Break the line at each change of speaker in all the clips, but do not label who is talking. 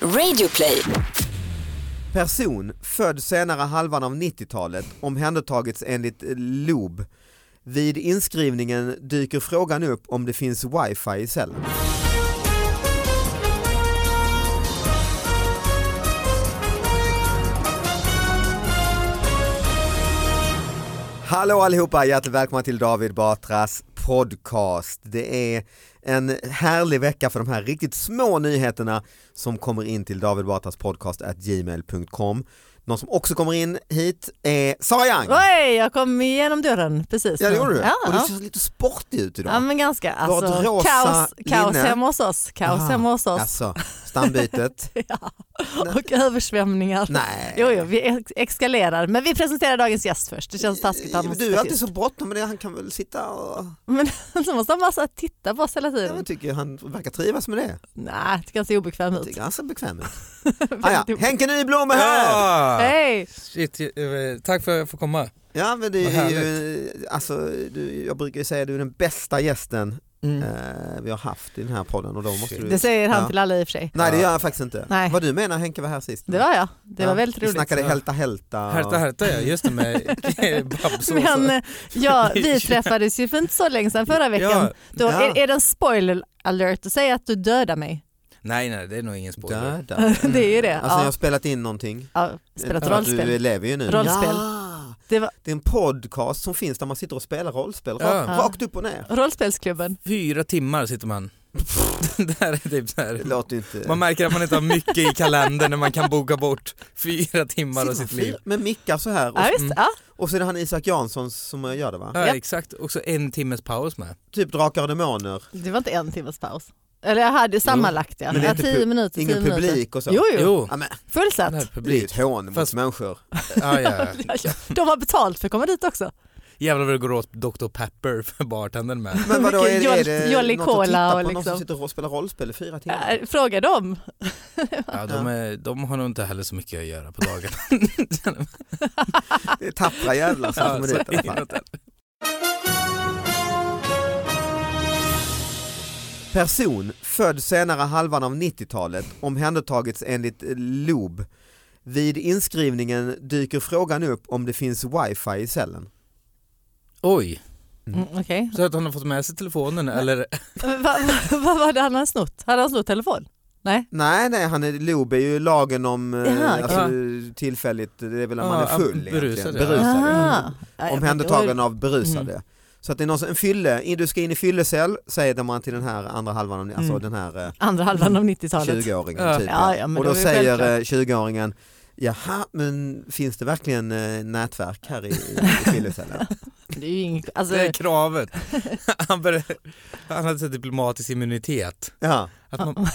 Radioplay.
Person född senare halvan av 90-talet omhändertagits enligt eh, LOB. Vid inskrivningen dyker frågan upp om det finns wifi i cellen. Hallå allihopa, hjärtligt välkomna till David Batras podcast. Det är en härlig vecka för de här riktigt små nyheterna som kommer in till David Batras podcast at gmail.com. Någon som också kommer in hit är Sara Young.
Oj, jag kom igenom dörren precis.
Ja det
nu.
gjorde du.
Ja,
Och
ja.
du ser lite sportig ut idag.
ja men ganska.
Du har ett
Alltså,
rosa
kaos kaos
linne.
hemma hos oss. Kaos
Aha.
hemma hos oss.
Alltså, stambytet.
Ja. Och översvämningar.
Nej.
Jo, jo, vi ex- eskalerar. Men vi presenterar dagens gäst först. Det känns taskigt. att han måste
Du är
vara
alltid
tyst.
så bråttom med det, han kan väl sitta och...
Men så måste han bara så här titta på oss hela tiden.
Jag tycker han verkar trivas med det.
Nej, tycker han ser obekväm
Jag
ut.
tycker han ser bekväm ut.
Väldigt
Ah, ja.
obekväm.
Henke Nyblom är här!
Hej!
Shit, eh, tack för att jag får komma.
Ja men det
Vad
är ju, alltså, du, jag brukar ju säga att du är den bästa gästen eh, vi har haft i den här podden och då måste
Shit.
du...
Mm. Det säger han
Ja.
till alla i och för sig.
Nej det gör jag faktiskt inte.
Nej.
Vad du menar Henke var här sist.
Det var jag. Det
Mm. Ja,
var
Vi
väldigt roligt.
snackade
Ja.
hälta hälta. och-
Härta härta ja, just det med Babs och
Men
så.
eh, ja, vi träffades ju för inte så länge sedan förra veckan.
Ja.
Då,
Ja.
är, är det en spoiler alert att säga att du dödar mig?
Nej nej, det är nog ingen spoiler.
Där, där.
Det är ju det.
Alltså jag har
ja.
spelat in någonting.
Ja, spelat
För att Du
rollspel.
lever ju nu.
Rollspel.
Ja.
Det var
Det är en podcast som finns där man sitter och spelar rollspel
Ja.
rakt,
Ja.
rakt upp och ner.
rollspelsklubben.
Fyra timmar sitter man. det här är typ så
Det
här.
låter ju inte...
Man märker att man inte har mycket i kalendern när man kan boka bort fyra timmar av
Sitter
sitt
man
liv.
fyra- Med mickar så här och,
Ja, visst. Ja.
och så är det han Isak Jansson som gör det va?
Ja,
Ja.
exakt, också en timmes paus med.
Typ Drakar och Demoner.
Det var inte en timmes paus. Eller jag hade sammanlagt ja.
men det är
ja
inte
tio
pu-
minuter.
Ingen
tio minuter.
publik och så.
Jo, jo.
Jo,
Ja, men,
Fullsatt.
den här
det blir ju
publik.
ett hån mot
Fast-
människor.
Ja, ja.
De har betalt för att komma dit också.
Jävlar vad det går åt Dr Pepper för bartendern med.
Men vadå, är,
Mycket
är
Jolly-
det
Jolly
något att
Cola
titta på
och
någon som
liksom.
sitter och spelar rollspel i fyra timmar?
Äh, Fråga dem.
Ja, de, är, de har nog inte heller så mycket att göra på dagarna.
Det är tappra jävlar som kommer dit i alla fall. Person född senare halvan av 90-talet omhändertagits enligt eh, LOB. Vid inskrivningen dyker frågan upp om det finns wifi i cellen.
Oj,
Mm, Okej.
så att han har fått med sig telefonen eller
Alltså-
Vad vad- vad var det han hade snott? Hade han snott telefon? Nej.
Nej, nej, han är, LOB är ju lagen om eh,
Jaha,
alltså, tillfälligt, det är väl när man
Ja,
är full
berusad,
egentligen.
ja.
Mm.
Aha. Ja, mm.
Omhändertagen av berusade. Så att det är någon som, en fylle, in- du ska in i fyllecell säger man till den här andra halvan, av- alltså
Mm.
den här eh,
Andra halvan av 90-talet.
20-åringen.
Ja.
Typ,
Ja, ja, men
och
det
då
var ju
säger
självklart.
eh, 20-åringen, jaha men finns det verkligen eh, nätverk här i, i fyllecellen?
Det är ju inget, alltså,
det är kravet. Han, började, han hade så diplomatisk immunitet.
ja.
Att man,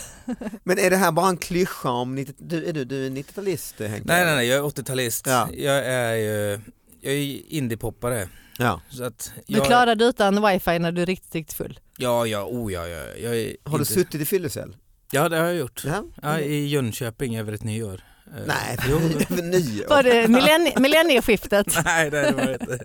Men är det här bara en klyscha om, 90, du, är du, du är 90-talist eh, Henke?
nej nej nej, jag är 80-talist.
Ja.
Jag är ju jag är indiepoppare.
Ja.
Så att
du
jag,
klarar dig utan wifi när du är riktigt, riktigt full.
Ja, ja, oh ja, ja. Jag är
Har du
inte-
suttit i fyllecell?
Ja det har jag gjort.
Ja.
Ja, I Jönköping över ett nyår. Eh,
Nej,
Jo.
över nyår.
Var det millenni- millennieskiftet?
nej det var jag inte.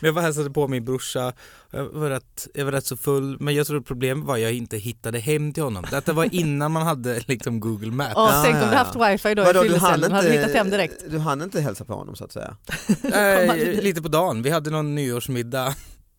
Men jag var och hälsade på min brorsa, jag var, rätt, jag var rätt så full men jag tror problemet var att jag inte hittade hem till honom. Detta var innan man hade liksom Google Maps.
Och
Ja,
tänk
ja,
om du haft
ja.
wifi då
Vadå,
i fyllecellen, hade du hittat hem direkt.
du hann inte hälsa på honom så att säga?
Eh,
aldrig dit.
lite på dagen, vi hade någon nyårsmiddag,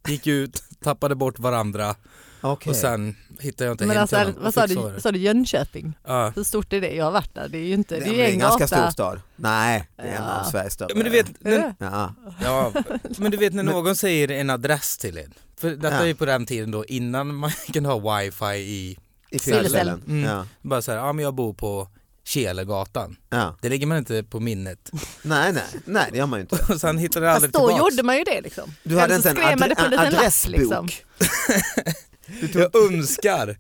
gick ut, tappade bort varandra
Okej.
och sen hittade jag inte
Men
hem
alltså,
till honom.
vad
Och
sa
fick
du,
sova.
sa du Jönköping?
Ja.
Hur stort är det? Jag har varit där, det är ju inte, det är ju
är
en
en ganska stor
gata.
stad. Nej, det är en
Ja.
av Sveriges större.
Men du vet,
Är
när,
det?
Ja.
ja, men du vet när någon säger en adress till en, för detta
Ja.
är ju på den tiden då innan man kunde ha wifi i,
I
Sillecellen.
fyllecellen.
Mm.
Ja.
bara så här, ja men jag bor på Kelegatan.
Ja.
Det lägger man inte på minnet.
Nej, nej, nej det gör man ju inte.
Och sen hittade jag aldrig
Fast då
tillbaks.
gjorde man ju det liksom.
Du hade
Eller
inte
så
en
skrev man det på en
adre-
liten lapp
adressbok.
liksom.
Jag önskar.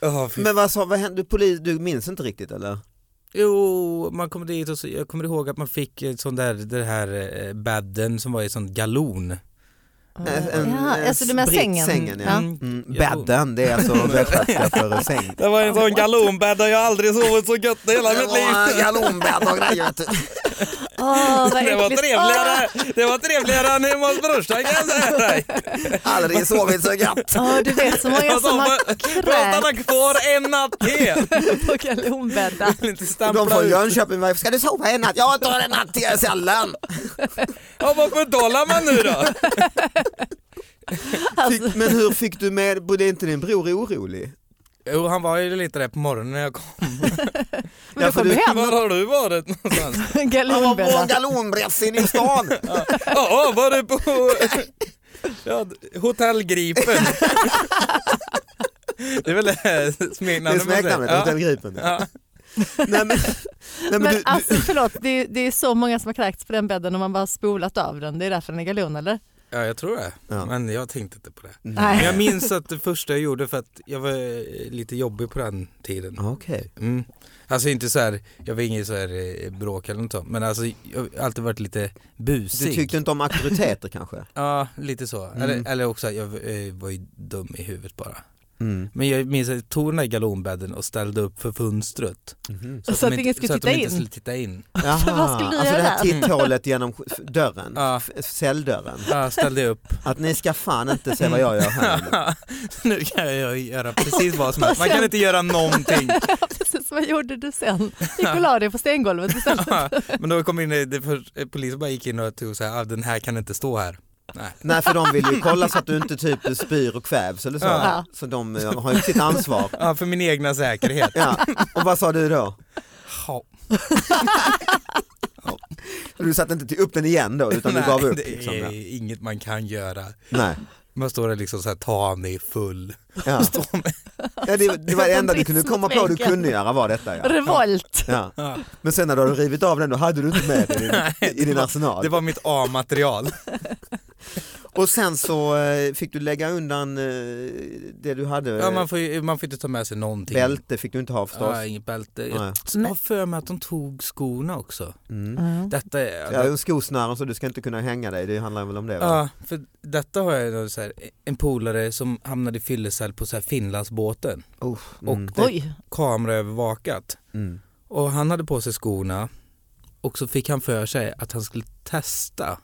Ja, fy
Men vad sa, vad hände, polis, du minns inte riktigt eller?
Jo, man kommer dit och så, jag kommer ihåg att man fick eh, sån där, den här eh, bädden som var i sån galon.
ja, alltså du menar
britt-
sängen?
sängen ja.
Ja.
Mm,
Ja.
bädden, det är alltså västgötska för säng.
Det var en sån galonbädd där jag aldrig sovit så gött i hela
Det var Galonbädd och grejer vet du.
Åh, vad
Det var
äckligt. Åh,
trevligare, det var trevligare än hemma hos brorsan kan jag säga dig.
Aldrig sovit så gött.
åh, du vet så många
Jag
som har
Jag
kräkts
stannar kvar en natt till.
på galonbäddar.
Vill inte
De
stampla
från
ut.
Jönköping, varför ska du sova en natt? Jag tar en natt till i cellen.
Ja, vad betalar man nu då?
Alltså.
Fick, men hur fick du med, blev inte din bror orolig?
Jo, han var ju lite där på morgonen när jag kom.
Men
Ja,
du
för
kom
du-
hem
Var har du varit någonstans?
och
Han var på en
galonbäddar.
galonbrets inne i stan.
Ja, var du på ja, Hotell Gripen? Det är väl eh,
Det är
smeknamnet man
smeknamnet,
säger.
Hotell Gripen.
Ja,
Nej, men, nej, men
Men
du, du,
alltså förlåt, det är, det är så många som har kräkts på den bädden och man bara har spolat av den. Det är därför den är galon eller?
ja, jag tror det.
Ja.
Men jag tänkte inte på det. Men
Nej.
jag minns att det första jag gjorde för att jag var eh, lite jobbig på den tiden.
Okej.
Mm. Alltså inte så här, jag var ingen så här eh, bråk eller något sånt, men alltså jag har alltid varit lite busig.
Du tyckte inte om auktoriteter kanske?
Ja, lite så.
Mm.
Eller, eller också, jag eh, var ju dum i huvudet bara. Men jag minns att jag tog den där galonbädden och ställde upp för fönstret.
Mhm.
Så att
de
ingen
inte,
skulle
så att de
titta
inte
in.
skulle titta in.
Jaha,
vad skulle du
alltså det
göra
här
där?
titthålet genom sk- f- dörren,
Ja.
f- celldörren.
Ja, ställde jag upp.
Att ni ska fan inte se vad jag gör här.
Mm. nu kan jag göra precis vad som helst. Man kan inte göra någonting.
Precis, vad gjorde du sen? Gick och la dig på stengolvet istället?
Men då kom in, eh, det för, eh, polisen bara gick in och tog så här, ah, den här kan inte stå här. Nej.
Nej för de vill ju kolla så att du inte typ spyr och kvävs eller så.
Ja.
Så de eh, har ju sitt ansvar.
Ja, för min egna säkerhet.
Ja. Och vad sa du då?
Ja.
Du satte inte upp den igen då utan du
Nej,
gav upp?
Det är
Liksom, ja.
inget man kan göra.
Nej.
Man står där liksom så här, ta mig full.
Ja. Ja, det, det var det enda du kunde komma på du
Brist mot
kunde göra var detta ja.
Revolt!
ja.
Ja.
Men sen när du hade rivit av den då hade du inte med den i din, i din arsenal.
Det var mitt A-material.
Och sen så eh, fick du lägga undan eh, det du hade. eh,
Ja, man, får ju, man får inte ta med sig någonting.
Bälte fick du inte ha förstås.
Ja, inget bälte.
Nej.
Jag t- har för mig att de tog skorna också.
Mm.
Mm.
Detta är...
Ja, skosnören så du ska inte kunna hänga dig, det handlar väl om det? Va?
Ja, för detta har jag då så här, en polare som hamnade i fyllecell på så här Finlandsbåten
Uff,
och
mm,
det
Oj,
kameraövervakat.
mm.
Och han hade på sig skorna och så fick han för sig att han skulle testa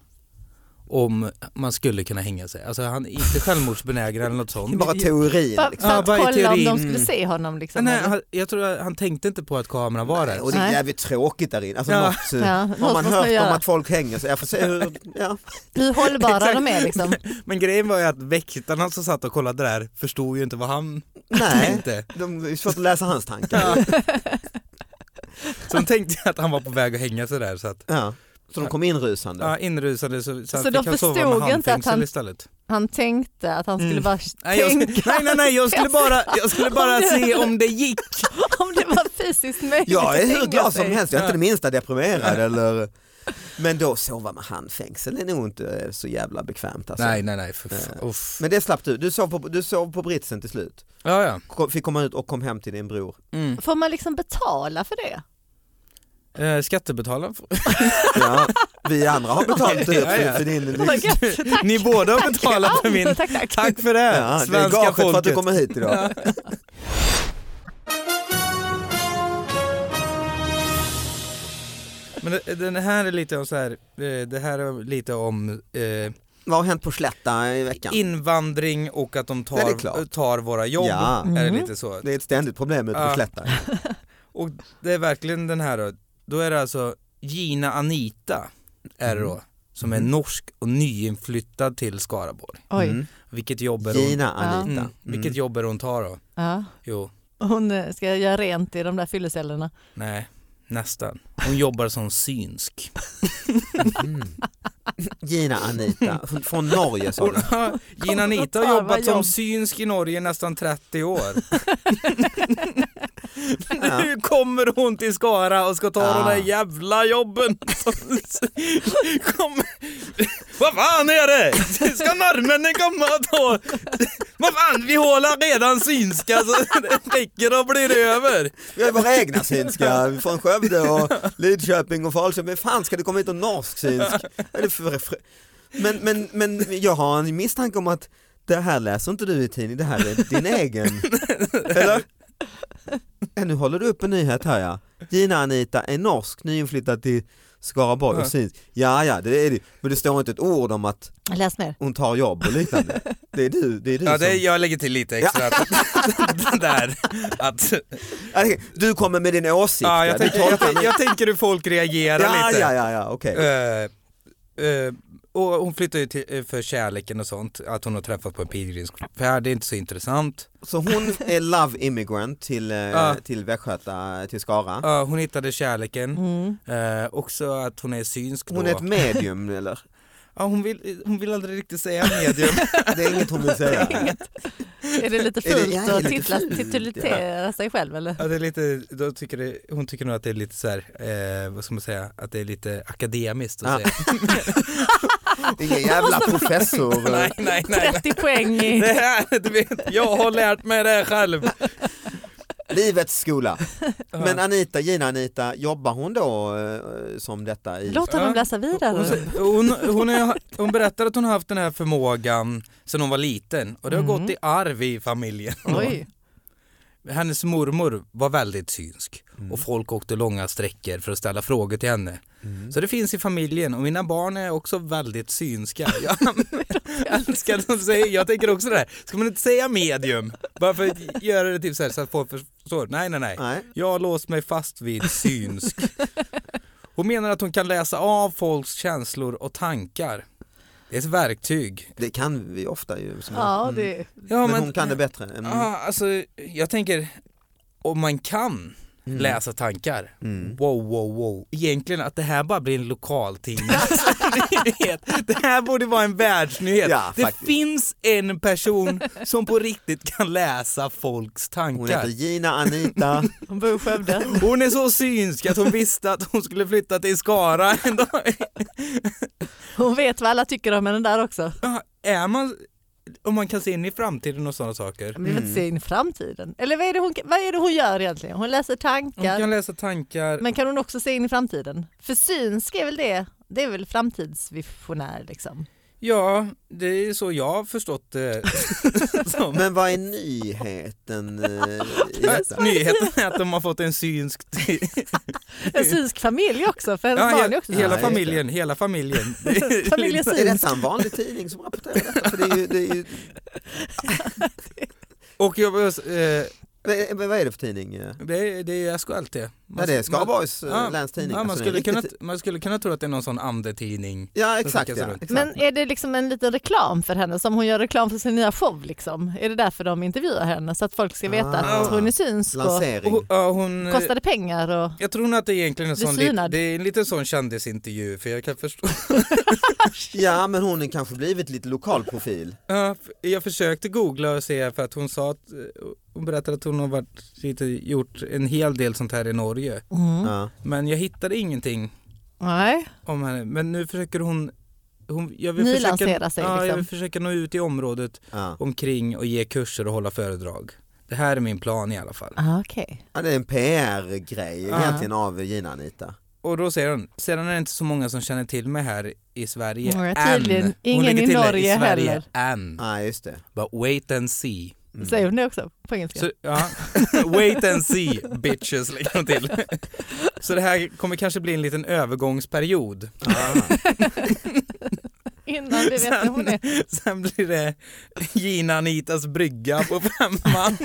om man skulle kunna hänga sig. Alltså han är inte självmordsbenägen eller något sånt.
Bara teorin.
bara
Liksom.
för
Ja,
att
bara i
kolla om de
teorin.
skulle se honom liksom.
Nej,
eller?
han, jag tror att han tänkte inte på att kameran var där.
Och det är
Nej.
jävligt tråkigt där inne. Alltså,
Ja.
något, eh,
Ja, något
har man
måste man
hört om
göra.
att folk hänger så jag får se hur, ja.
Hur hållbara
Exakt.
de är liksom.
Men grejen var ju att väktarna som satt och kollade där förstod ju inte vad han
Nej,
tänkte.
de, det är svårt att läsa hans tankar.
Ja. Så de tänkte ju att han var på väg att hänga sig där så att
Ja. Så de kom inrusande.
ja, inrusade så, så,
Så
han
de
fick han sova med
förstod inte att
handfängsel
han-
istället.
Han tänkte att han skulle
Mm.
bara
Nej, jag,
tänka
skulle- nej nej nej jag skulle bara, jag skulle bara se om det gick.
Alltså, om det var fysiskt möjligt
Jag är
att
hur
hänga
glad som
sig.
helst, jag är inte det minsta deprimerad. Eller... Men då sova med handfängsel är nog inte eh, så jävla bekvämt. Alltså.
Nej nej nej för fan. Uff.
Men det slapp du, du sov, på, du sov på britsen till slut.
Ja ja.
Kom, fick komma ut och kom hem till din bror.
Mm.
Får man liksom betala för det?
Eh, skattebetalaren får-
Ja, vi andra har betalat
Ja,
dyrt
ja,
för,
ja.
för din...
Vad gött, tack.
Ni båda har
Tack,
betalat för
Ann.
min.
Tack, tack.
Tack för det
Ja, det är
svenska
gaget för att du
folket.
kommer hit idag.
Men det- den här är lite om så här, eh, det här är lite om eh,
Vad har hänt på Slätta i veckan?
invandring och att de
Ja, det är
tar,
klart.
tar våra jobb.
Ja.
Är det
Mm.
lite så.
Det är ett ständigt problem ute på
Ja.
Slätta.
Och det är verkligen den här då. Då är det alltså Gina Anita är det då. Som är
Mm.
norsk och nyinflyttad till Skaraborg.
Oj,
Mm.
Vilket jobb är hon,
Gina Anita.
mm, vilket
Mm.
jobb är hon tar då?
ja.
Jo,
hon eh, ska göra rent i de där fyllecellerna.
nej, nästan. Hon jobbar som synsk.
Mm. Gina Anita, från- från Norge sa du.
Hon- Gina Anita
Kommer
har
att tarva
jobbat som
jobb.
synsk i Norge i nästan 30 år.
Ja.
Nu kommer hon till Skara och ska ta de
Ah.
där jävla jobben. Kom. Vad fan är det? Ska norrmännen komma och ta? Vad fan, vi håller redan synska så det räcker och blir över.
Vi har ju våra egna synska från Skövde och Lidköping och Falköping. Men fan ska det komma hit en norsk synsk? Vad är det för- för- Men, men, men jag har en misstanke om att det här läser inte du i tidning, det här är din egen. Eller? Ja, nu håller du upp en nyhet här ja. Gina Anita är norsk, nyinflyttad till Skaraborg och
Ja.
syns. Ja, ja, det är det. Men det står inte ett ord om att
Läs mer.
hon tar jobb och liknande. Det är du, det är du
Ja, det,
som...
jag lägger till lite extra. att- där. Att,
Ja, det- Du kommer med din åsikt.
ja,
Du
jag, tänker,
tolkar-
jag, jag tänker hur folk reagerar
ja,
lite.
ja, ja, ja, okej.
Eh, eh, och hon flyttar ju till, eh, för kärleken och sånt, att hon har träffat på en pilgrimsfärd, det är inte så intressant.
Så hon är love immigrant till, eh,
Ja.
till Västgöta, till Skara.
Ja, hon hittade kärleken,
Mm.
eh, också att hon är synsk
Hon
då.
är ett medium eller?
ja, hon, vill, eh, hon vill aldrig riktigt säga medium.
Det är inget hon vill säga.
Är det lite
Är det- ja,
fult
är
att
det lite
titla-
fult?
titulera sig själv eller?
ja, det är lite, då tycker det, hon tycker nog att det är lite så här, eh, vad ska man säga, att det är lite akademiskt att
Ja.
säga.
Ingen jävla professor. eh,
nej, nej, nej.
30 poäng i...
Det här, du vet, jag har lärt mig det här själv.
Livets skola. Men Anita, Gina Anita, jobbar hon då eh, som detta i...
Låt honom
Ja.
läsa vidare.
Hon, säger- hon, hon, är, hon berättar att hon har haft den här förmågan sedan hon var liten och det har
Mm.
gått i arv i familjen.
Oj.
Hennes mormor var väldigt synsk
Mm.
och folk åkte långa sträckor för att ställa frågor till henne.
Mm.
Så det finns i familjen och mina barn är också väldigt synska. Jag, ska de säga, jag tänker också det här, ska man inte säga medium? Bara för att göra det typ så, här, så att folk förstår. Nej, nej, nej.
Nej.
Jag har låst mig fast vid synsk. Hon menar att hon kan läsa av folks känslor och tankar. Det är ett verktyg.
Det kan vi ofta ju. Som
Ja, det...
Ja, Mm.
men, hon kan det bättre. Mm.
Ja, alltså, jag tänker, om man kan
Mm.
läsa tankar, wow, wow, wow. Egentligen att det här bara blir en lokal tidning. Alltså, ni vet, det här borde vara en världsnyhet.
Ja,
det
faktiskt.
finns en person som på riktigt kan läsa folks
Hon
tankar.
heter Gina Anita.
Hon bor i Skövde.
Hon är så synsk att hon visste att hon skulle flytta till Skara en dag.
Hon vet vad alla tycker om henne där också.
Ja, Är man, om man kan se in i framtiden och sådana saker.
Men vi vill inte se in i framtiden. Eller vad är, det hon, vad är det hon gör egentligen? Hon läser
Man
tankar.
kan läsa tankar.
Men kan hon också se in i framtiden? För synsk är väl det, det är väl framtidsvisionär liksom.
Ja, det är så jag har förstått det. som.
Men vad är nyheten eh, i detta?
Nyheten är att de har fått en synsk...
En synsk familj också, för hennes
he-
barn är också
hela
just det.
familjen, hela familjen. Det är-
Familjen
Är
synsk.
detta en vanlig tidning som rapporterar detta? För det är ju, det är ju,
Och jag, eh,
men- men vad är det för tidning? eh?
det, är, det är SKLT. Man,
Ja, det är Skaraborgs eh,
Ja,
läns tidning.
man, ja, man,
Alltså, det är
skulle kunna,
riktigt-
man skulle kunna tro att det är någon sån andetidning.
Ja, exakt.
skickas
Ja,
runt.
exakt.
Men är det liksom en liten reklam för henne som hon gör reklam för sin nya show liksom? Är det därför de intervjuar henne så att folk ska veta
Ah.
att hon är synsk och
Lansering.
Och, ja, hon, eh,
kostade pengar och
Jag tror nog att det är egentligen en
Blir
sån, lit,
synad.
det är en liten sån kändisintervju för jag kan förstå.
Ja, men hon har kanske blivit lite lokal profil.
Ja, f- jag försökte googla och se för att hon sa att eh, hon berättade att hon har varit, lite, gjort en hel del sånt här i Norge.
Mm.
Ja.
Men jag hittade ingenting
nej,
om henne. Men nu försöker hon, hon jag
Nylansera sig,
ja, jag
liksom.
vill försöka nå ut i området
Ja.
omkring och ge kurser och hålla föredrag. Det här är min plan i alla fall.
ah, okej.
Ja, det är en PR-grej
Ja.
egentligen av Gina Anita.
Och då säger hon, sedan är det inte så många som känner till mig här i Sverige
Nej,
än.
tydligen
Hon
ingen
lägger
i
till det,
Norge
i Sverige
heller.
än.
Ja, just det.
But wait and see.
Mm.
Säger hon det också på engelska?
Så, ja. Wait and see bitches lägger hon till. Så det här kommer kanske bli en liten övergångsperiod.
Innan vi vet vem hon är.
Sen blir det Gina Anitas brygga på femman.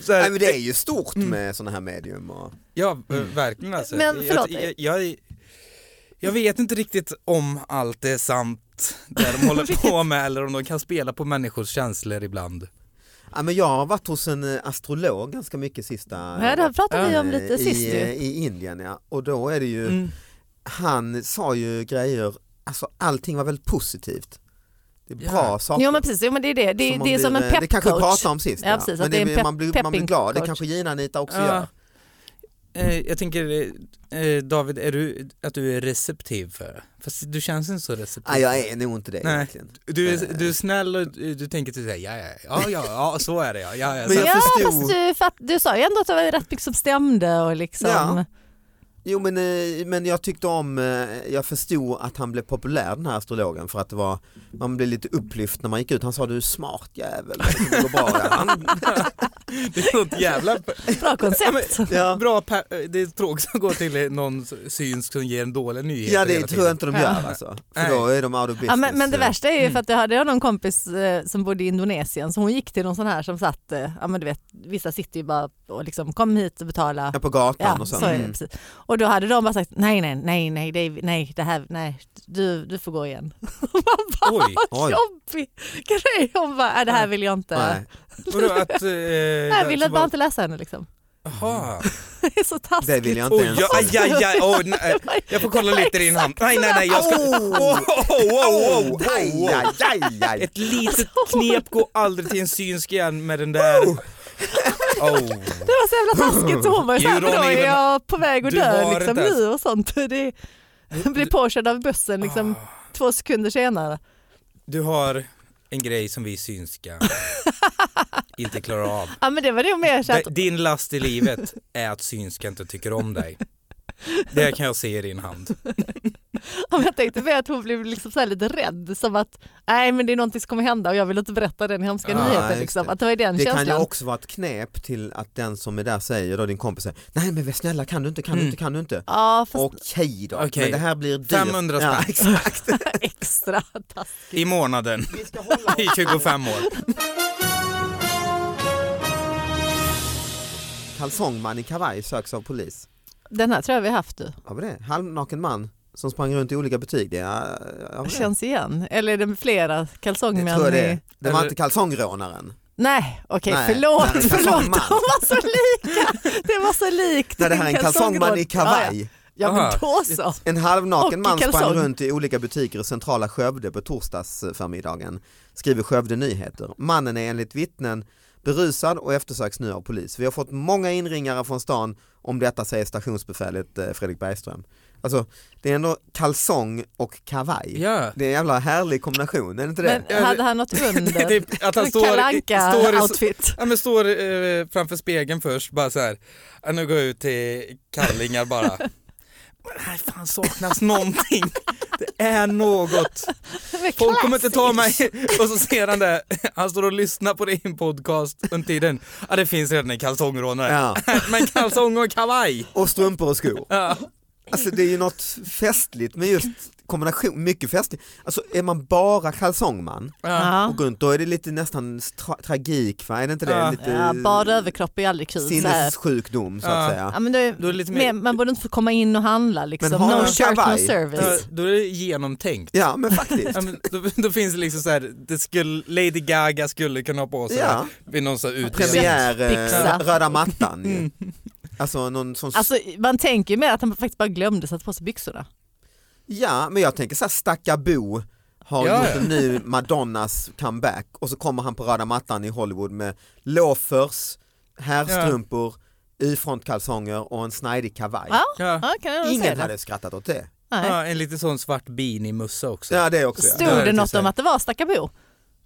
Så
Nej,
här,
men det är ju stort
Mm.
med sådana här medium. Och...
ja, verkligen alltså.
Men förlåt.
Jag, jag, jag, jag vet inte riktigt om allt är sant där de håller på med eller om de kan spela på människors känslor ibland.
Ja, men jag har varit hos en eh, astrolog ganska mycket sista...
Ja, det här pratade vi
eh,
om lite sist
i, eh,
ju.
I Indien, ja. Och då är det ju,
Mm.
han sa ju grejer, alltså allting var väldigt positivt. Det är
Ja.
bra saker.
Jo men precis, jo, men det är det. Det,
som
det
man
är som en
blir, eh, Det kanske vi
peppcoach.
pratade om sist.
Ja, precis,
Men
att det är en
blir-
pep-
man, blir, man blir
pepping
glad, det
coach.
kanske Gina Anita också
Ja.
gör.
Eh, Jag tänker eh, David, är du, att du är receptiv för det? Fast du känns inte så receptiv.
Nej, jag är Eh. nog inte det
Nej.
egentligen.
Du, är, du är snäll och du du tänker till dig, ja, ja, ja, ja, ja, så är det ja. ja, ja.
Men
Så-
jag
ja
förstod-
fast du, fatt, du sa ju ändå att det var rätt mycket som stämde och liksom.
Ja. Jo men, eh, men jag tyckte om, eh, jag förstod att han blev populär den här astrologen för att det var, man blev lite upplyft när man gick ut. Han sa du är smart jävel, det kommer gå bra. Ja, Han,
Det är något jävla...
Bra
Ja,
koncept.
men,
Ja.
Bra per... Det är tråkigt att gå till någon synsk som ger en dålig nyhet
Ja det
hela
tror jag
tiden.
inte de
Ja.
gör alltså. För då är de out of business. eh, Mm.
Ja, men, men det värsta är ju för att jag hade jag någon kompis eh, som bodde i Indonesien så hon gick till någon sån här som satt, eh, ja men du vet vissa sitter ju bara och liksom kom hit och betala.
Ja, på gatan
Ja,
och
så
sånt.
är det,
Mm.
precis. Och då hade de bara sagt nej, nej, nej, nej, det, är- nej, det här, nej, du, du får gå igen. Man bara,
Oj,
oj.
vad jobbig grej. Hon bara, äh, det här vill jag inte.
Nej.
Vadå att... Eh,
Nej, jag ville
så
bara inte läsa henne liksom.
Jaha.
Det är så taskigt.
Det vill jag inte
Oj,
ens
ja, aj,
se.
aj, aj, oh, nej.
Det var ju-
Jag får kolla lite i din hand. Nej, nej, nej, jag ska...
Oh.
Oh, oh, oh, oh,
Aj,
oh.
aj, aj, aj.
Ett litet knep går aldrig till en synsk igen med den där... Oh.
Det var så jävla taskigt så hon var ju
You
såhär, men då
don't
är
even-
jag på väg att
Du
dö
har
liksom
inte ens-
nu och sånt. Det blir påkörd av bussen liksom
Ah.
två sekunder senare.
Du har en grej som vi synska inte klarar av.
Ja men det var det mer så att,
D- Din last i livet är att synska inte tycker om dig. Det kan jag se i din hand.
om jag tänkte mer att hon blev liksom så här lite rädd som att nej men det är någonting som kommer hända och jag vill inte berätta den hemska
Ah,
just
nyheten
det.
liksom. Att det var ju den
Det kan ju
känslan.
också vara ett knäp till att den som är där säger, då din kompis säger, nej men snälla kan du inte, kan du inte, kan du inte.
Ja fast
Okej då,
Okej.
men det här blir dyrt.
500 spänn.
Ja, exakt.
extra taskigt.
I månaden. I 25 år.
Kalsongman i kavaj söks av polis.
Den här tror jag vi har haft du.
Har vi det? Halvnaken man som sprang runt i olika butik. Det, ja, har vi det?
Känns igen. Eller är det flera kalsongmän?
det tror jag det.
i-
är. Det var
Eller-
inte kalsongrånaren.
Nej okej
Nej,
förlåt,
det här är en
förlåt. De
kalsongman.
var så lika. Det var så likt.
Nej det
din
här är en kalsongman i
kalsongråd. Ja, ja.
kavaj.
Ja men
Aha.
då så.
En
Och i
halvnaken man sprang
kalsong.
runt i olika butiker i centrala Skövde på torsdagsförmiddagen, skriver Skövde Nyheter. Mannen är enligt vittnen berusad och eftersöks nu av polis. Vi har fått många inringare från stan om detta säger stationsbefälet eh, Fredrik Bergström. Alltså det är ändå kalsong och kavaj.
Ja.
Det är en jävla härlig kombination, är det inte det?
Men hade han något under?
Typ att han
En
står,
Kalle
står i,
Anka-outfit.
Ja, men står eh, framför spegeln först, bara så här. Ja, nu går jag ut till kallingar bara. Men här fan saknas någonting. Det är något. Folk kommer inte ta mig. Och så ser han det. Han står och lyssnar på det i en podcast under tiden. Ja, det finns redan en kalsongrånare.
Ja.
Men kalsong och kavaj.
Och strumpor och skor.
Ja.
Alltså det är ju något festligt med just kombination, mycket festligt. Alltså är man bara kalsongman
Ja.
Ja.
och går runt då är det lite nästan tra- tragik va? Är det inte det?
Ja.
Lite...
Ja, bara överkropp är aldrig kul. Så här.
sinnessjukdom så att
Ja.
säga.
Ja, men det,
Då är det lite mer-
men man borde inte få komma in och handla liksom.
Men har
No
man
shirt, no
kavaj?
Ja,
service.
Då är det genomtänkt.
Ja men faktiskt.
Ja, men då, då finns det liksom så här, det skulle, Lady Gaga skulle kunna ha på sig
Ja.
det vid någon sån här utdelning.
Premiär, eh,
Pizza.
röda mattan
Mm.
ju. Alltså någon sån,
Alltså, man tänker ju mer att han faktiskt bara glömde sätta på sig byxorna.
ja men jag tänker såhär Stackabo har
Ja,
gjort en ny Madonnas comeback och så kommer han på röda mattan i Hollywood med loafers, härstrumpor, Y-frontkalsonger och en snajdig kavaj.
Ja,
Ja.
ja kan jag nog säga
Ingen
det.
hade skrattat åt det.
Nej.
Ja, en lite sån svart beanie-mössa också.
Ja det också.
Stod
Ja.
Ja, det
det något
tycker jag.
om att det var Stackabo?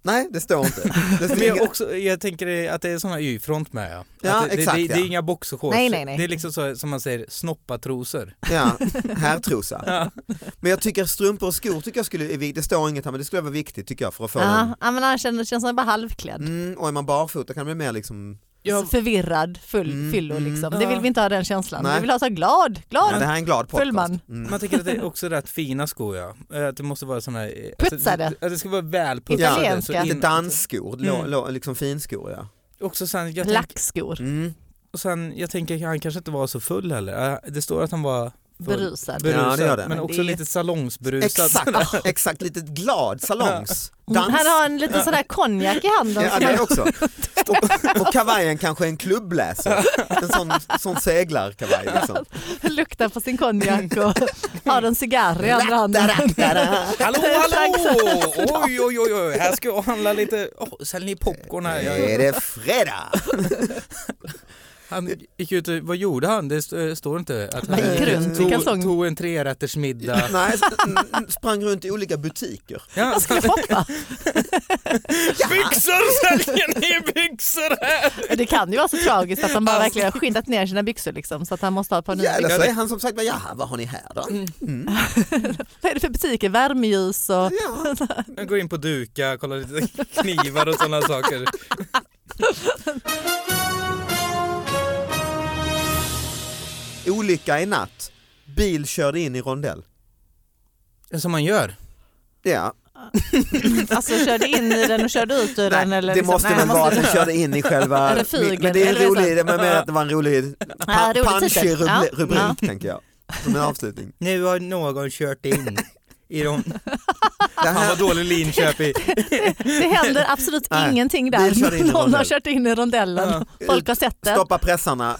Nej det står inte. Det står
Men jag,
inga-
också, jag tänker att det är såna Y-front med ja.
Ja,
Att det,
exakt,
det, det, det
ja.
är inga boxershorts.
Nej, nej, nej.
Det är liksom så, som man säger, snoppatrosor.
Ja, herrtrosa. Men jag tycker strumpor och skor tycker jag skulle, är vi- det står inget här men det skulle vara viktigt tycker jag för att få
Ja,
en,
ja, men han känner, känns han bara halvklädd.
mm, och är man barfota kan det bli mer liksom,
Ja,
Så Förvirrad, full
Mm,
fyllo
mm.
liksom. Det vill vi inte ha den känslan.
Nej.
Vi vill ha så här glad, glad.
men det här är en glad podcast.
Full man.
Mm.
man tänker att det är också rätt fina skor ja. Eh, Att det måste vara såna här... alltså,
Putsade.
Att det ska vara välputsade.
Italienska.
så in-
Lite dansskor, lo,
Mm.
lo, liksom finskor ja.
Också sen, jag, tänk,
Lackskor,
Mm.
och sen, jag tänker han kanske inte var så full heller. Eh, Det står att han var full.
berusad. Mm,
Berusad. Ja, det gör det.
Men också
Det är-
lite salongsberusad.
Exakt, ah, exakt, lite glad salongs, dans.
Han har en liten sådär konjak i handen.
Ja,
som
det
han-
är också. Och, och kavajen kanske är en klubbläsare, en sån, sån seglarkavaj liksom.
luktar på sin konjak och har en cigarr i andra handen.
Hallå, hallå!
Exakt.
Oj, oj, oj, oj, här ska jag handla lite, oh, säljer ni popcorn här? Jag,
Är det fredag?
Han gick ut, och- vad gjorde han? Det st- står inte. Att han eh,
Nej, gick runt i
tog,
kalsong.
tog en trerättersmiddag.
Nej, s- n- sprang runt i olika butiker.
Ja,
Jag skulle hoppa.
byxor säljer ni byxor här?
Det kan ju vara så tragiskt att han
Alltså.
bara verkligen har skyndat ner sina byxor liksom, så att han måste ha ett par nya
Ja, eller
byxor.
så är han som sagt, ja vad har ni här då?
Mm.
Mm.
Vad är det för butiker? Värmeljus och
Ja.
Han går in på Duka, kollar lite knivar och sådana saker.
Olycka i natt. Bil körde in i rondell.
Som man gör.
Ja,
Alltså körde in i den och körde ut ur den?
nej,
Eller
det
liksom,
måste
nej,
väl
man
vara att den
dö.
körde in i själva...
Eller flyger,
men det är
eller
en rolig,
så.
men jag menar att det var en rolig, pa-
rolig
punchig
titel.
rubri-
Ja.
rubrik
Ja.
tänker jag. Som en avslutning.
Nu har någon kört in i dem.
Det
Fan
här,
vad dålig Linköping.
Det händer absolut
Nej,
ingenting
bil körde in i
där. Någon har
rondell.
kört in i rondellen. Folk har sett det.
stoppa pressarna.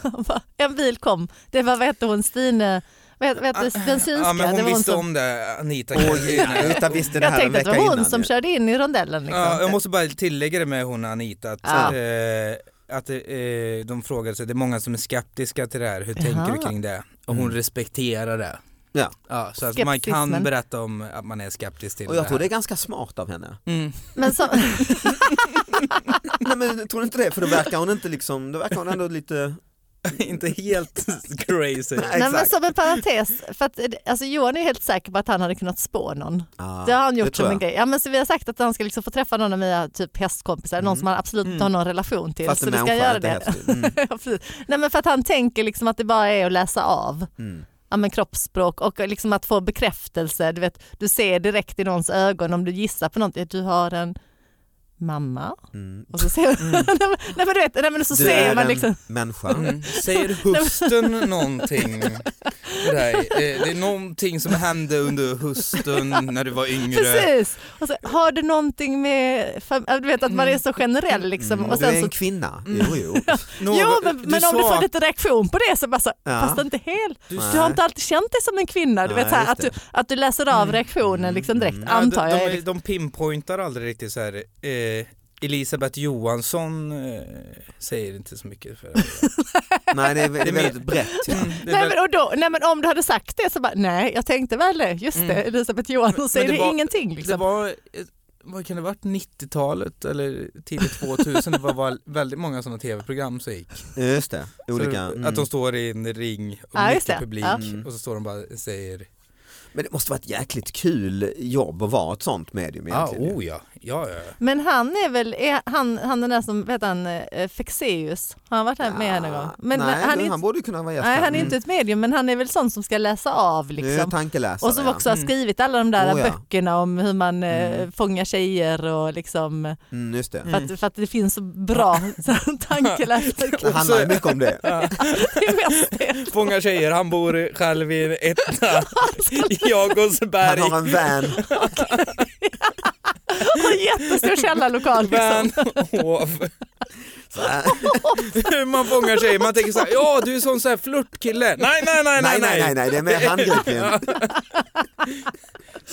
En bil kom. Det var vad hette hon, Stine, vad hette- vad hette
Ah,
den synska?
Ja, men
det
hon
var hon
visste
som-
om det, Anita.
Oj,
Karolina.
Anita visste det
Jag
här en
tänkte att det
vecka
var hon
innan.
som
ju.
körde in i rondellen. Liksom.
Ja, jag måste bara tillägga det med hon Anita, att,
Ja.
eh, att eh, de frågade sig, det är många som är skeptiska till det här, hur tänker du
Jaha.
kring det? Och hon respekterar det.
Mm. Ja.
Ja, så att man kan
Skepticismen.
berätta om att man är skeptisk till
Och
det
jag
här.
tror det är ganska smart av henne.
Mm.
Men som,
Nej men jag tror inte det, för då verkar hon inte liksom, då verkar hon ändå lite...
Inte helt crazy.
nej, men
Exakt.
som en parentes, för att, eh, alltså, Johan är helt säker på att han hade kunnat spå någon.
Ah,
det har han gjort
tror
som en
jag.
grej. Ja, men så vi har sagt att han ska liksom få träffa någon av mina typ, hästkompisar, någon som han absolut inte har någon relation till.
Fast
så
en
vi ska
Mm. människa,
göra
inte
det.
häftigt. Mm.
Ja, precis. Nej, men för att han tänker liksom att det bara är att läsa av.
Mm.
ja, men kroppsspråk och liksom att få bekräftelse. Du, vet, du ser direkt i någons ögon om du gissar på någonting. Du har en mamma.
Mm.
Och så ser, nej, men, nej, men du vet, nej, men så
Du
ser
är
man
en
liksom.
människa.
Mm. Säger husten någonting? för dig? Eh, Det är någonting som hände under husten när du var yngre.
Precis! Och så, har du någonting med... fam- ja, Du vet att man är så generell liksom.
Mm.
och
Du är
sen
en
så, Mm.
kvinna, jo jo.
Någon-
jo men, men om du
sa-
får lite reaktion på det så bara så,
Ja.
fast inte helt.
Du-
Du,
Nej.
har inte alltid känt dig som en kvinna. Du
Nej,
vet, så här,
just Mm.
att, du, att du läser av reaktionen liksom direkt
Ja,
antar
de,
jag.
de,
är
är-
liksom-
de pinpointar aldrig riktigt så här. Eh, Elisabeth Johansson eh, säger inte så mycket. För det.
Nej det är
Det
det är
är
väldigt brett. ja.
Det är
Mm. Nej
väl-
men, och då, nej men om du hade sagt det så bara, nej jag tänkte väl det, just
Mm.
det, Elisabeth Johansson säger
men
det,
det var-
ingenting.
Det
Liksom.
var, eh, vad kan det ha varit, 90-talet eller tidigt 2000? det var väl- väldigt många sådana tv-program som gick.
Just det, olika.
Så,
mm.
Att de står i en ring och
Ja, just
mycket
det.
publik
Ja.
och så står de bara och säger
Men det måste vara ett jäkligt kul jobb att vara ett sånt medium
ja, ah,
egentligen.
oh ja, ja, ja. ja.
Men han är väl, är han, han den där som, vad heter han, eh, Fexeus, har han varit här med här någon gång? Men,
nej,
men han,
du,
är
han Mm.
inte,
borde kunna vara gäst
nej,
här.
han är inte ett medium men han är väl sån som ska läsa av
Mm. Nu är jag
liksom.
tankeläsare.
Och som också har
Mm.
skrivit alla de där
Oh, ja.
böckerna om hur man
Mm.
mm. fångar tjejer och liksom, eh,
ja. mm, just det.
för, att, för att det finns så bra tankeläsare.
Det handlar ju mycket om det.
Det är mest det.
Fångar tjejer, han bor själv i en etta
Han
i Jakobsberg.
har en van.
Och en jättestor källarlokal liksom.
Van Hov.
Så här.
Hur man fångar tjejer, man tänker såhär, ja du är sån sån här flörtkille. Nej nej nej
Nej, nej, nej, nej, det är mer handgripligen.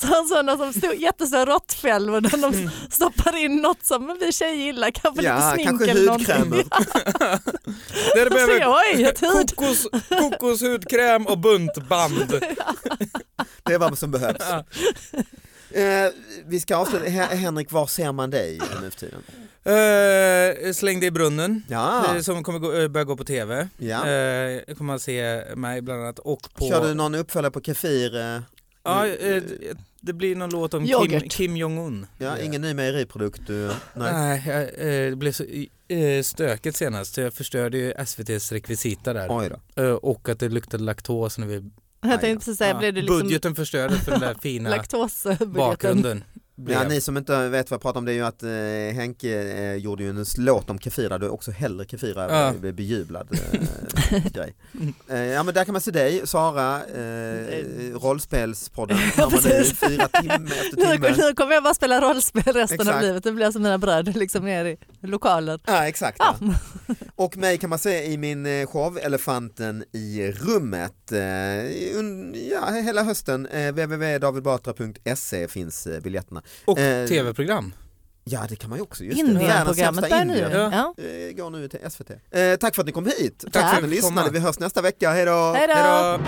Så- Sådana som stod jättestora råttfällor där de stoppar in något som vi tjejer gillar, kanske
Mm. Ja,
lite smink
kanske
eller någonting.
hudkrämer.
Där
Så
behöver
jag är ett hud.
kokos, kokoshudkräm och buntband.
Det är vad som behövs. Eh, vi ska avsluta. Hen- Henrik, var ser man dig nu för tiden?
Eh, släng det i brunnen.
Ja,
Ah.
eh, Som kommer gå, eh, börja gå på tv.
ja.
Eh, kommer man se mig bland annat och på...
Kör du någon uppföljare på Kefir? eh?
Ja, eh, det blir någon låt om Kim,
Yoghurt.
Kim Jong-Un.
Ja, ingen ny mejeriprodukt? du- Nej.
Nej, jag, eh, det blev så eh, stökigt senast. Jag förstörde ju SVTs rekvisita där.
Oj då.
Eh, Och att det luktade laktos när vi...
Jag tänkte precis säga, blev du liksom
Budgeten förstördes för den där fina
laktosbudgeten?
bakgrunden. Blev.
Ja, ni som inte vet vad jag pratar om det är ju att eh, Henke eh, gjorde ju en låt om Kefir där du också hellre Kefir
Ja.
ja. blev bejublad eh, grej. Eh, ja men där kan man se dig, Sara, eh, rollspelspodden, hör man dig
precis.
fyra timme efter
Nu,
timme.
nu kommer jag bara spela rollspel resten
Exakt.
av livet, det blir som mina bröder liksom ner i lokaler.
Ja exakt. Ja. Och mig kan man se i min eh, show Elefanten i rummet. Eh, un- ja, hela hösten, eh, www.davidbatra.se finns eh, biljetterna.
Och
Eh,
tv-program.
Ja det kan man ju också. just det. Världens
Indienprogrammet
sämsta
börjar nu.
Indien.
Ja.
Ja.
Eh, går nu till SVT. Eh, tack för att ni kom hit. Tack, för
Tack.
att ni lyssnade.
Komma.
Vi hörs nästa vecka. Hej då!
Hej
Hej
då!
då!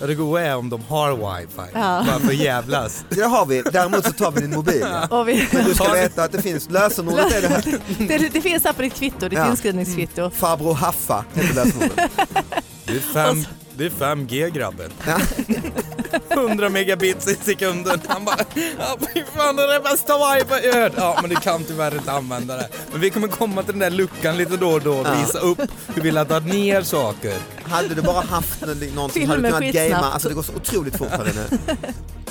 Ja, Det goa är om de har wifi,
Ja.
bara för att jävlas.
Det har vi. Däremot så tar vi din mobil. ja.
Och vi,
Men du ska veta att det finns lösenordet är det här.
det, det finns här på ditt kvitto, ditt
Ja.
inskrivningskvitto.
Farbror Haffa heter lösenordet.
Det är 5G grabben.
Ja.
100 megabits i sekunden. Han bara, ja, fy fan det är det bästa wifi jag hört. Ja men du kan tyvärr inte använda det. Men vi kommer komma till den där luckan lite då och då och
Ja.
visa upp hur vi laddar ner saker.
Hade du bara haft någon någon som
Filmen
hade kunnat
skitsnabbt.
gamea, alltså det går så otroligt fort här inne.